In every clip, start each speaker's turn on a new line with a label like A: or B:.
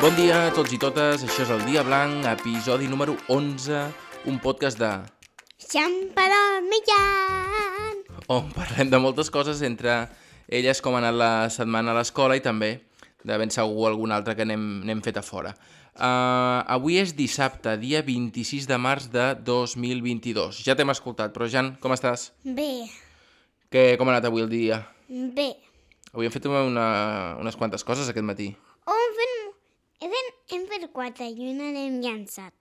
A: Bon dia a tots i totes, això és el Dia Blanc, episodi número 11, un podcast de...
B: Xamparol Millan!
A: on parlem de moltes coses, entre elles com ha anat la setmana a l'escola i també de ben segur alguna altra que n'hem n'hem fet a fora. Uh, avui és dissabte, dia 26 de març de 2022. Ja t'hem escoltat, però Jan, com estàs?
B: Bé,
A: Que, com ha anat avui el dia?
B: bé.
A: Avui hem fet una, unes quantes coses aquest matí.
B: Oh, hem fet, hem fet, hem fet quatre i una l'hem llançat.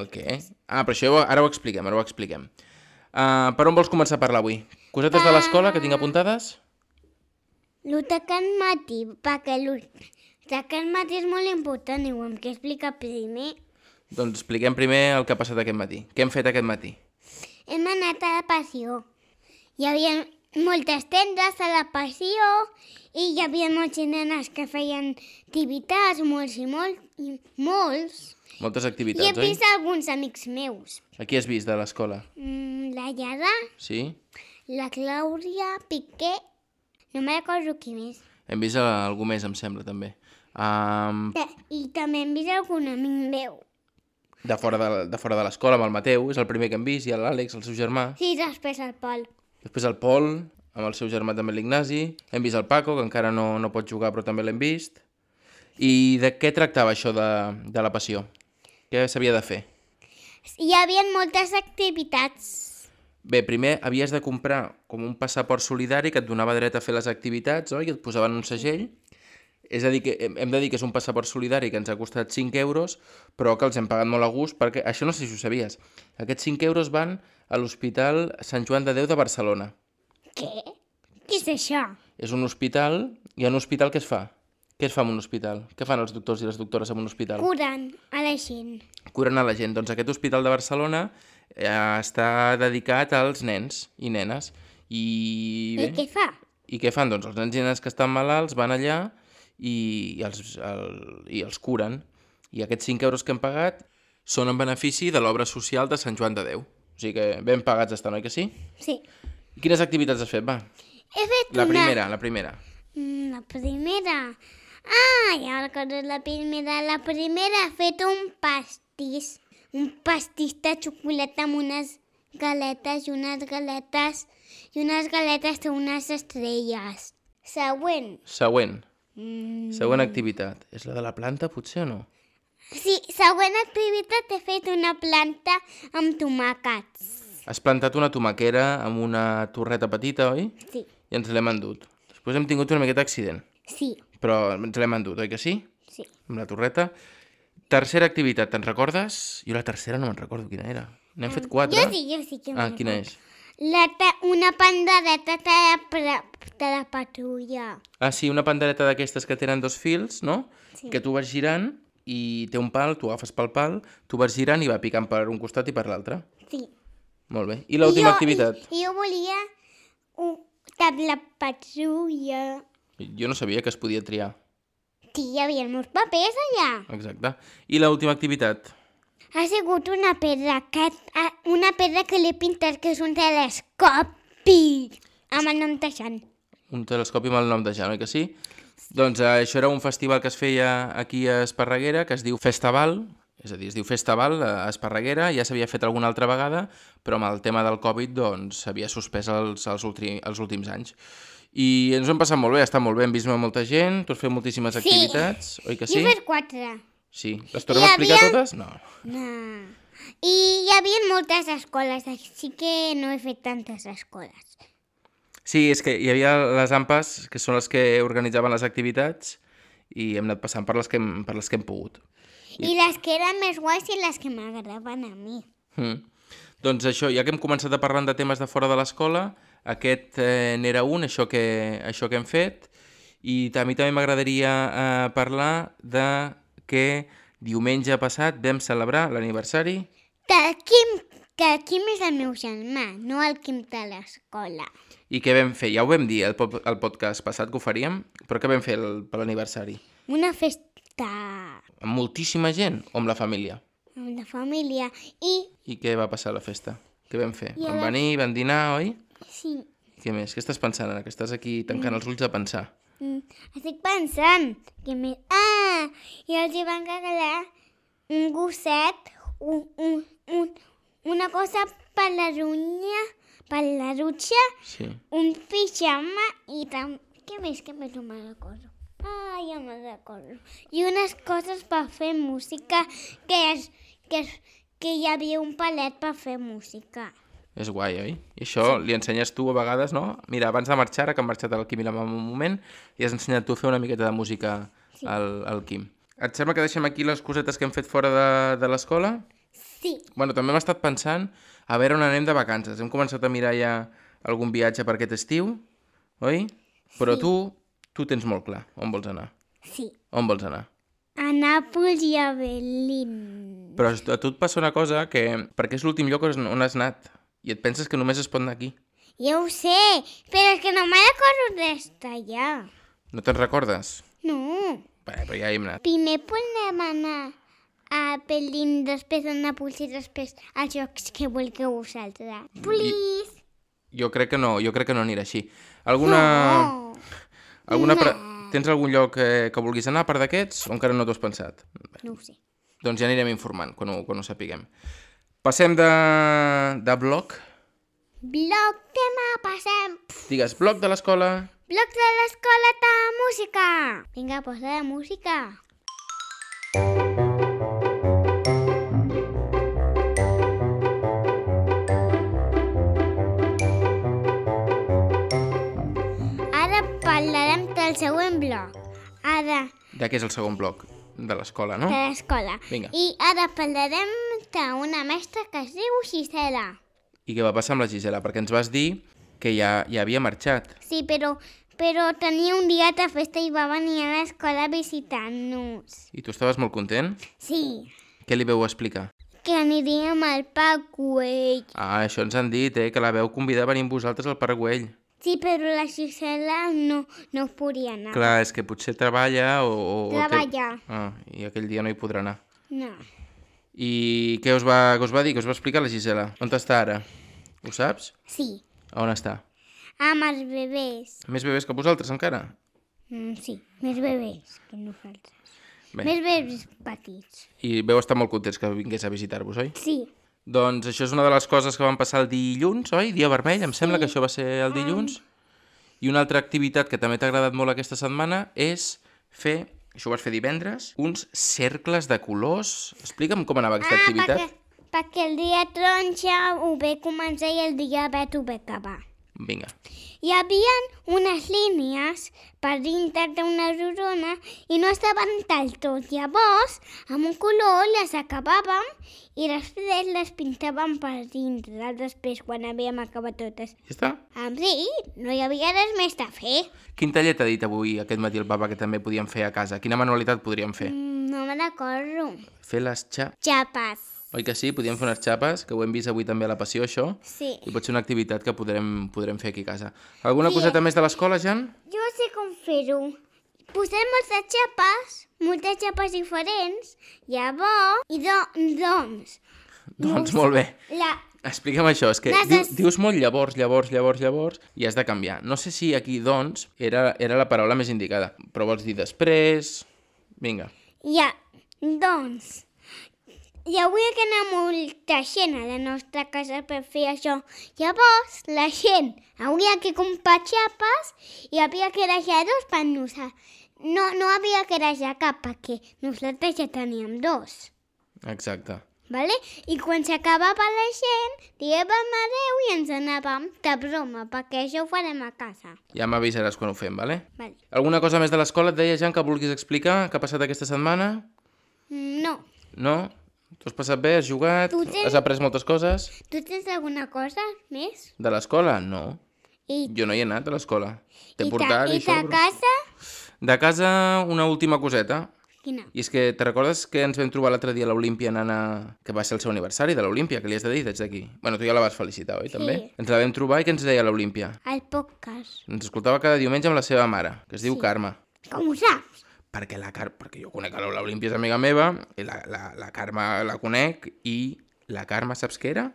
A: El què? Ah, però això ho- ara ho expliquem, ara ho expliquem. Uh, per on vols començar a parlar avui? Cosetes de l'escola que tinc apuntades?
B: L'atacant mati, perquè l'atacant mati és molt important i ho hem que explicar primer.
A: Doncs expliquem primer el que ha passat aquest matí. Què hem fet aquest matí?
B: Hem anat a la passió. Hi havia moltes tendes a la passió i hi havia molts nenes que feien activitats, molts i molts, i molts.
A: Moltes
B: I he
A: activitats, oi?
B: vist alguns amics meus.
A: A qui has vist de l'escola?
B: Mm, la Yada,
A: Sí?
B: La Clàudia Piqué, no me'n recordo qui més.
A: Hem vist a algú més, em sembla, també. Um,
B: Te- Eh, I també hem vist algun amic meu.
A: de fora de de fora de l'escola, amb el Mateu, és el primer que hem vist, i l'Àlex, el seu germà.
B: Sí, després el Pol.
A: Després el Pol, amb el seu germà també l'Ignasi. Hem vist el Paco, que encara no, no pot jugar, però també l'hem vist. I de què tractava això de, de la passió? Què s'havia de fer?
B: Hi havia moltes activitats.
A: Bé, primer havies de comprar com un passaport solidari que et donava dret a fer les activitats, oi? I et posaven un segell. És a dir, que hem hem de dir que és un passaport solidari que ens ha costat 5 euros, però que els hem pagat molt a gust, perquè això no sé si ho sabies. Aquests 5 euros van a l'Hospital Sant Joan de Déu de Barcelona.
B: Què? Què és això?
A: És un hospital, i a un hospital què es fa? Què es fa en un hospital? Què fan els doctors i les doctores en un hospital?
B: Curen a la gent.
A: curen a la gent. Doncs aquest hospital de Barcelona eh, està dedicat als nens i nenes. I,
B: I,
A: bé,
B: què fa?
A: I què fan? Doncs els nens i nenes que estan malalts van allà i, i, els, el, i els curen. I aquests 5 euros que hem pagat són en benefici de l'obra social de Sant Joan de Déu. O sigui que ben pagats estan, oi que sí?
B: Sí.
A: I quines activitats has fet, va?
B: He fet
A: La
B: una...
A: primera, la primera.
B: Mm, la primera. Ah, ja recordo la primera. La primera he fet un pastís. Un pastís de xocolata amb unes galetes i unes galetes i unes galetes amb unes estrelles. Següent.
A: Següent.
B: Mm,
A: Següent activitat. És la de la planta, potser, o no?
B: sí, següent activitat he fet una planta amb tomàquets.
A: Has plantat una tomaquera amb una torreta petita, oi?
B: Sí,
A: i ens l'hem endut. Després hem tingut una miqueta d'accident,
B: sí,
A: però ens l'hem endut, oi que sí?
B: sí.
A: Amb la torreta. Tercera activitat, te'n recordes? Jo la tercera no me'n recordo quina era. N'hem fet quatre.
B: Mm. Jo sí, jo sí que
A: Ah,
B: me'n
A: quina
B: recordo.
A: és?
B: La ta- una pandereta de, de, de la patrulla.
A: Ah, sí, una pandereta d'aquestes que tenen dos fils, no? Sí. Que tu vas girant i té un pal, tu agafes pel pal, tu vas girant i va picant per un costat i per l'altre.
B: Sí.
A: Molt bé. I l'última activitat?
B: I, jo volia un cap la patrulla.
A: Jo no sabia que es podia triar.
B: Sí, hi havia els meus papers allà.
A: Exacte. I l'última activitat?
B: Ha sigut una pedra que, ah, una pedra que l'he pintat que és un telescopi amb el nom de Jan.
A: Un telescopi amb el nom de Jan, oi que sí? Doncs eh, això era un festival que es feia aquí a Esparreguera, que es diu Festival, és a dir, es diu Festival a Esparreguera, ja s'havia fet alguna altra vegada, però amb el tema del Covid doncs s'havia suspès els, els, ultri, els últims anys. I ens ho hem passat molt bé, està molt bé, hem vist molta gent, tu has fet moltíssimes activitats, oi que Ah,
B: Jo
A: sí?
B: he fet quatre.
A: Sí. Les tornem
B: Hi
A: a explicar
B: havia-
A: totes? No.
B: No. I hi havia moltes escoles, així que no he fet tantes escoles.
A: Sí, és que hi havia les AMPAs, que són les que organitzaven les activitats, i hem anat passant per les que hem, per les que hem pogut.
B: I les que eren més guais i les que m'agradaven a mi.
A: Mm. Doncs això, ja que hem començat a parlar de temes de fora de l'escola, aquest eh, n'era un, això que, això que hem fet, i a mi també m'agradaria eh, parlar de que diumenge passat vam celebrar l'aniversari
B: Del Quim, que el Quim és el meu germà, no el Quim de l'escola.
A: i què vam fer? Ja ho vam dir el, pop- el podcast passat que ho faríem, però què vam fer el- per l'aniversari?
B: Una festa
A: Amb moltíssima gent o amb la família?
B: amb la família i,
A: I què va passar a la festa? Què vam fer?
B: Ja
A: Van
B: va-
A: venir, van dinar, oi?
B: sí,
A: Què més? Què estàs pensant ara? Que estàs aquí tancant els ulls a pensar.
B: Mm, estic pensant que me... Ah! I els hi van regalar un gosset, un, un, un, una cosa per la runya, per la dutxa,
A: Sí.
B: un pijama i tam... Què més? Què més no me'n recordo? Ah, ja me'n recordo. I unes coses per fer música, que és, que és, que hi havia un palet per fer música.
A: És guai, oi? I això li ensenyes tu a vegades, no? Mira, abans de marxar, ara que han marxat el Quim i la mama un moment, li has ensenyat tu a fer una miqueta de música al, al Quim. Et sembla que deixem aquí les cosetes que hem fet fora de, de l'escola?
B: Sí,
A: Bueno, també hem estat pensant a veure on anem de vacances. Hem començat a mirar ja algun viatge per aquest estiu, oi? Però tu, tu tens molt clar on vols anar.
B: sí.
A: On vols anar?
B: A Nàpols i a Berlín.
A: Però a tu et passa una cosa que... Perquè és l'últim lloc on on has anat. I et penses que només es pot anar aquí.
B: Ja ho sé, però és que no me'n recordo d'estar allà.
A: No te'n recordes?
B: No.
A: Bé, però ja hi hem anat.
B: Primer podem anar a Berlín, després a Nàpols i després als jocs que vulgueu vosaltres. Please!
A: Jo crec que no, jo crec que no anirà així. Alguna...
B: Oh.
A: alguna pre... Tens algun lloc eh, que vulguis anar a part d'aquests o encara no t'ho has pensat?
B: No ho sé.
A: Doncs ja anirem informant quan ho, quan ho sapiguem. Passem de, de bloc.
B: Bloc de passem.
A: Digues, bloc de l'escola.
B: Bloc de l'escola de música. Vinga, posa la música. Ara parlarem del següent bloc. Ara,
A: Ja que és el segon bloc de l'escola, no?
B: de l'escola.
A: Vinga.
B: I ara parlarem d'una mestra que es diu Gisela.
A: I què va passar amb la Gisela? Perquè ens vas dir que ja, ja havia marxat.
B: Sí, però, però tenia un dia de festa i va venir a l'escola a visitar-nos.
A: I tu estaves molt content.
B: Sí,
A: Què li veu explicar?
B: que aniríem al Parcuell.
A: Ah, això ens han dit, eh? Que la veu convidar a venir amb vosaltres al Paragüell.
B: Sí, però la Gisela no, no podia anar.
A: Clar, és que potser treballa o... o o té-
B: Ah. Treballa.
A: Ah, i aquell dia no hi podrà anar.
B: No.
A: I què us va, què us va dir? Què us va explicar la Gisela? On està ara? Ho saps?
B: Sí,
A: On està?
B: amb els bebès.
A: Més bebès que vosaltres encara?
B: Mm, sí, més bebès que nosaltres.
A: Bé.
B: Més bebès petits.
A: I veu estar molt contents que vingués a visitar-vos, oi?
B: Sí,
A: Doncs això és una de les coses que van passar el dilluns, oi? Dia vermell, em sembla que això va ser
B: Ah.
A: el dilluns. I una altra activitat que també t'ha agradat molt aquesta setmana és fer, això ho vas fer divendres, uns cercles de colors. Explica'm com anava aquesta activitat.
B: Ah, perquè, perquè el dia taronja ho ve començar i el dia verd ho ve acabar.
A: Vinga.
B: Hi havia unes línies per dintre d'una rodona i no estaven del tot. Llavors, amb un color les acabàvem i després les pintàvem per dintre. Després, quan havíem acabat totes.
A: Ja està?
B: Amb sí, no hi havia res més a fer.
A: Quin taller t'ha dit avui aquest matí el papa que també podíem fer a casa? Quina manualitat podríem fer?
B: Mm, no me'n recordo.
A: Fer les xapes.
B: Xapes.
A: Oi que sí? Podíem fer unes xapes, que ho hem vist avui també a la passió, això.
B: Sí.
A: I pot ser una activitat que podrem, podrem fer aquí a casa. Alguna
B: eh.
A: coseta més de l'escola, Jan?
B: Jo sé com fer-ho. Posem moltes xapes, moltes xapes diferents, llavors, i do, doncs,
A: Doncs molt bé.
B: la,
A: Explica'm això, és que
B: Les
A: diu,
B: es-
A: dius molt llavors, llavors, llavors, llavors, i has de canviar. No sé si aquí, doncs, era, era la paraula més indicada, però vols dir després... Vinga.
B: Ja, doncs, i avui que anar molta gent a la nostra casa per fer això. Llavors, la gent hauria que comprar xapes i havia que deixar dos per nosaltres. No, no havia que deixar cap perquè nosaltres ja teníem dos.
A: Exacte.
B: Vale? I quan s'acabava la gent, dièvem adeu i ens anàvem de broma, perquè això ho farem a casa.
A: Ja m'avisaràs quan ho fem, vale?
B: Vale.
A: Alguna cosa més de l'escola et deia, Jan, que vulguis explicar? Què ha passat aquesta setmana?
B: Mm, No.
A: No? T'ho has passat bé? Has jugat?
B: Tu tens-
A: Has après moltes coses?
B: Tu tens alguna cosa més?
A: De l'escola? No.
B: I,
A: Jo no hi he anat a l'escola.
B: i,
A: T'he
B: ta-
A: portat
B: i
A: i això...
B: ta
A: però-
B: casa?
A: De casa, una última coseta.
B: Quina?
A: I és que te recordes que ens vam trobar l'altre dia a l'Olímpia anant a... que va ser el seu aniversari de l'Olímpia, que li has de dir des d'aquí. Bueno, tu ja la vas felicitar, oi, també?
B: Sí.
A: Ens la vam trobar i que ens deia l'Olímpia.
B: El podcast.
A: Ens escoltava cada diumenge amb la seva mare, que es diu Carme.
B: Com ho saps?
A: Perquè la Car... perquè jo conec a l'Olímpia, és amiga meva, i la, la, la Carme la conec, i la Carme saps què era?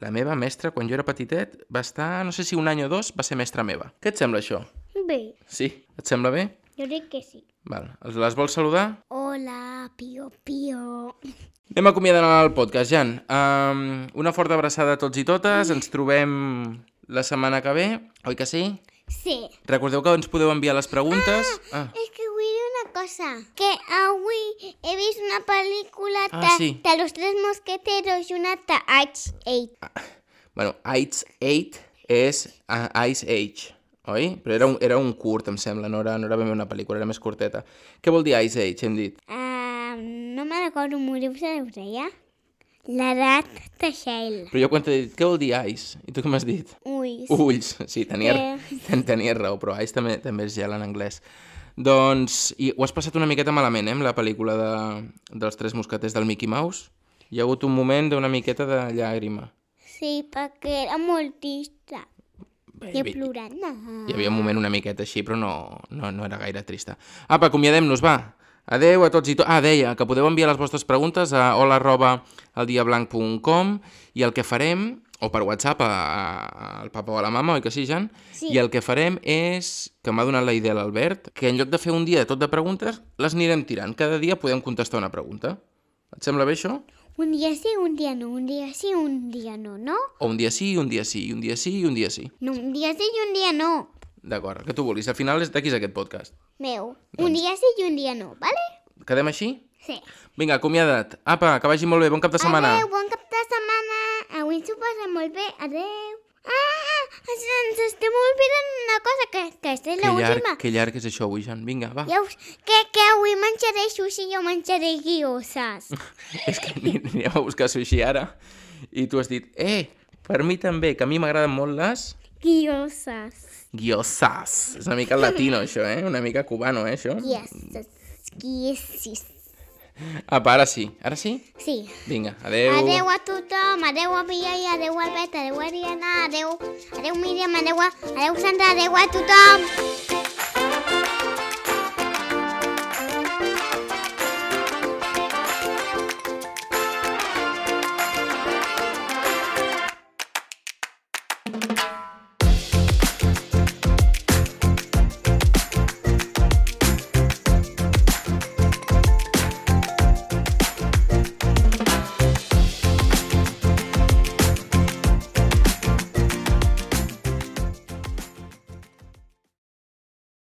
A: La meva mestra, quan jo era petitet, va estar, no sé si un any o dos, va ser mestra meva. Què et sembla això?
B: bé.
A: Sí? Et sembla bé?
B: Jo crec que sí.
A: Val. Els- Les vols saludar?
B: Hola, Pio Pio.
A: Anem acomiadant el podcast, Jan. Um, una forta abraçada a tots i totes. Ens trobem la setmana que ve, oi que sí?
B: Sí.
A: Recordeu que ens podeu enviar les preguntes. Ah,
B: És que vull dir una cosa. Que avui he vist una pel·lícula
A: Ah,
B: de,
A: sí.
B: de los tres mosqueteros i una de Ice Age.
A: Bueno, Ice 8 és ah, Ice Age, oi? Però era un, era un curt, em sembla, no era, no era ben bé una pel·lícula, era més curteta. Què vol dir Ice Age, hem dit?
B: Ah, no me'n recordo, moriu-vos a l'orella. L'edat de Shale.
A: Però jo quan t'he dit, què vol dir Ice? I tu què m'has dit?
B: Ui, sí.
A: Ulls, sí, tenies, ten, tenies raó, però Ice també, també és gel en anglès. Doncs, i ho has passat una miqueta malament, eh, amb la pel·lícula de, dels tres mosqueters del Mickey Mouse. Hi ha hagut un moment d'una miqueta de llàgrima.
B: sí, perquè era molt trista.
A: Bé,
B: I he
A: bé,
B: plorat. No.
A: hi havia un moment una miqueta així, però no, no, no era gaire trista. Apa, acomiadem-nos, va! Adeu a tots i to... Ah, deia que podeu enviar les vostres preguntes a hola.eldiablanc.com i el que farem, o per WhatsApp a- a- al papa o a la mama, oi que sí, Jan?
B: Sí.
A: I el que farem és, que m'ha donat la idea l'Albert, que en lloc de fer un dia tot de preguntes, les anirem tirant. Cada dia podem contestar una pregunta. Et sembla bé això?
B: Un dia sí, un dia no, un dia sí, un dia no, no?
A: O un dia sí, un dia sí, un dia sí i un dia sí.
B: No, un dia sí i un dia no.
A: D'acord, el que tu vulguis. Al final és d'aquí és aquest podcast.
B: Meu, un dia sí i un dia no, vale?
A: Quedem així?
B: Sí.
A: Vinga, acomiada't. Apa, que vagi molt bé. Bon cap de setmana.
B: Adeu, bon cap de setmana. Avui ens ho passa molt bé. Adeu. Ah, ens, ens estem oblidant una cosa, que, que aquesta és
A: Que llarg,
B: l'última.
A: que llarg és això avui, Jan. Vinga, va.
B: Ja us... que, que avui menjaré sushi i jo menjaré guioses.
A: És que ani- anirem a buscar sushi ara. I tu has dit, eh, per mi també, que a mi m'agraden molt les
B: Guioses.
A: guiosas. És una mica latino, això, eh? Una mica cubano, eh, això?
B: Guioses. Guioses.
A: Apa, ara sí. Ara sí?
B: Sí.
A: Vinga, adeu.
B: Adeu a tothom, adeu a Biai, adeu a Albert, adeu a Ariana, adeu, adeu Míriam, adeu a, adeu Sandra, adeu a tothom.